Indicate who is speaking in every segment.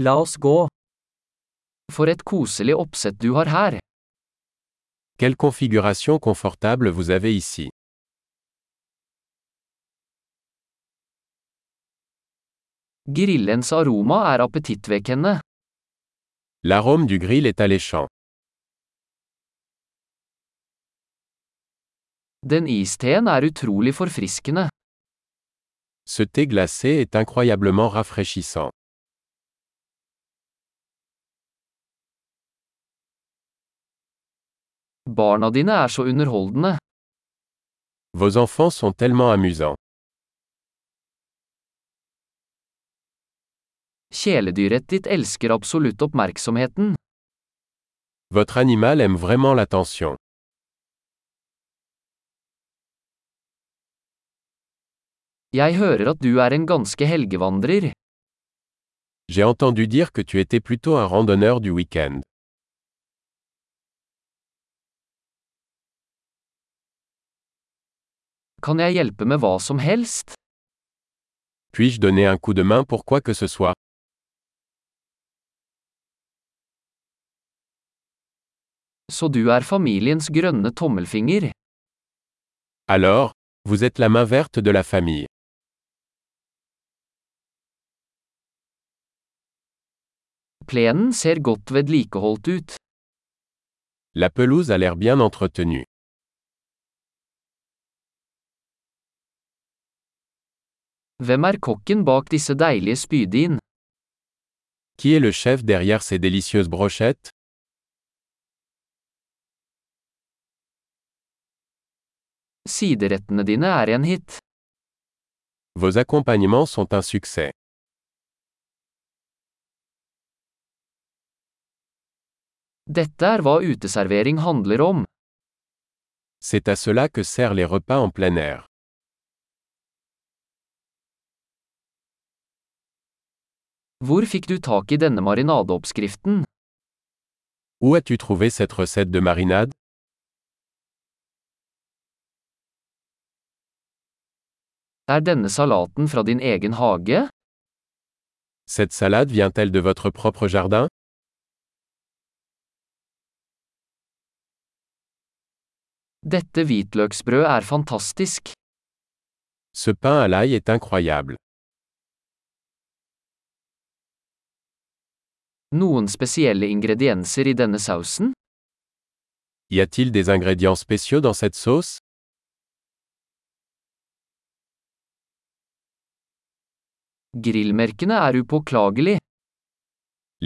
Speaker 1: La oss gå. For et koselig oppsett du har her.
Speaker 2: Quelle configuration confortable vous avez ici.
Speaker 1: Grillens aroma er appetittvekkende.
Speaker 2: L'arôme du grill est alléchant.
Speaker 1: Den isteen er utrolig forfriskende.
Speaker 2: Ce thé glacé est incroyablement rafraîchissant.
Speaker 1: Barna dine er så underholdende.
Speaker 2: Vos enfants sont tellement amusants.
Speaker 1: Kjæledyret ditt elsker absolutt oppmerksomheten.
Speaker 2: Votre animal aime vraiment l'attention.
Speaker 1: Jeg hører at du er en ganske helgevandrer.
Speaker 2: J'ai entendu dire que tu étais plutôt un randonneur du week-end.
Speaker 1: Kan jeg hjelpe med hva som helst?
Speaker 2: Puis-je donner un coup de main pour quoi que ce soit
Speaker 1: Så du er familiens grønne tommelfinger.
Speaker 2: Alors, vous êtes la main verte de la famille.
Speaker 1: Plenen ser godt vedlikeholdt ut.
Speaker 2: La pelouse a l'air bien entretenue.
Speaker 1: Hvem er kokken bak disse deilige spydin?
Speaker 2: Qui est le chef derrière ces délicieuses brochettes
Speaker 1: Siderettene dine er en hit.
Speaker 2: Vos accompagnements sont un succès.
Speaker 1: Dette er hva uteservering handler om.
Speaker 2: C'est à cela que servent les repas en plein air.
Speaker 1: Hvor fikk du tak i denne marinadeoppskriften?
Speaker 2: Où as-tu trouvé cette recette de marinade
Speaker 1: Er denne salaten fra din egen hage?
Speaker 2: Cette salade vient-elle de votre propre jardin
Speaker 1: Dette hvitløksbrød er fantastisk.
Speaker 2: Ce pain à l'ail est incroyable.
Speaker 1: Noen spesielle ingredienser i denne sausen?
Speaker 2: Y a-t-il des ingrédients spéciaux dans cette sauce
Speaker 1: Grillmerkene er upåklagelig.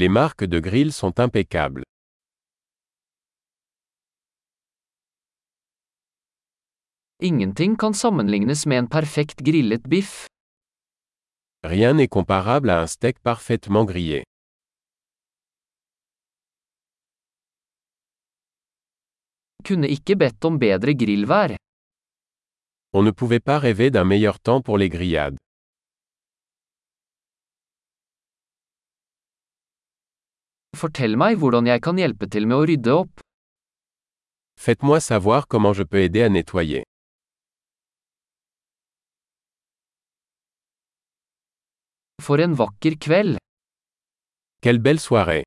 Speaker 2: Les marques de grill sont impeccables.
Speaker 1: Ingenting kan sammenlignes med en perfekt grillet biff.
Speaker 2: Rien n'est comparable à un steak parfaitement grillé.
Speaker 1: Kunne ikke bedt om bedre grillvær.
Speaker 2: On ne pouvait pas rêver d'un meilleur temps pour les grillades.
Speaker 1: Fortell meg hvordan jeg kan hjelpe til med å rydde opp.
Speaker 2: Faites-moi savoir comment je peux aider à nettoyer.
Speaker 1: For en vakker kveld.
Speaker 2: Quelle belle soirée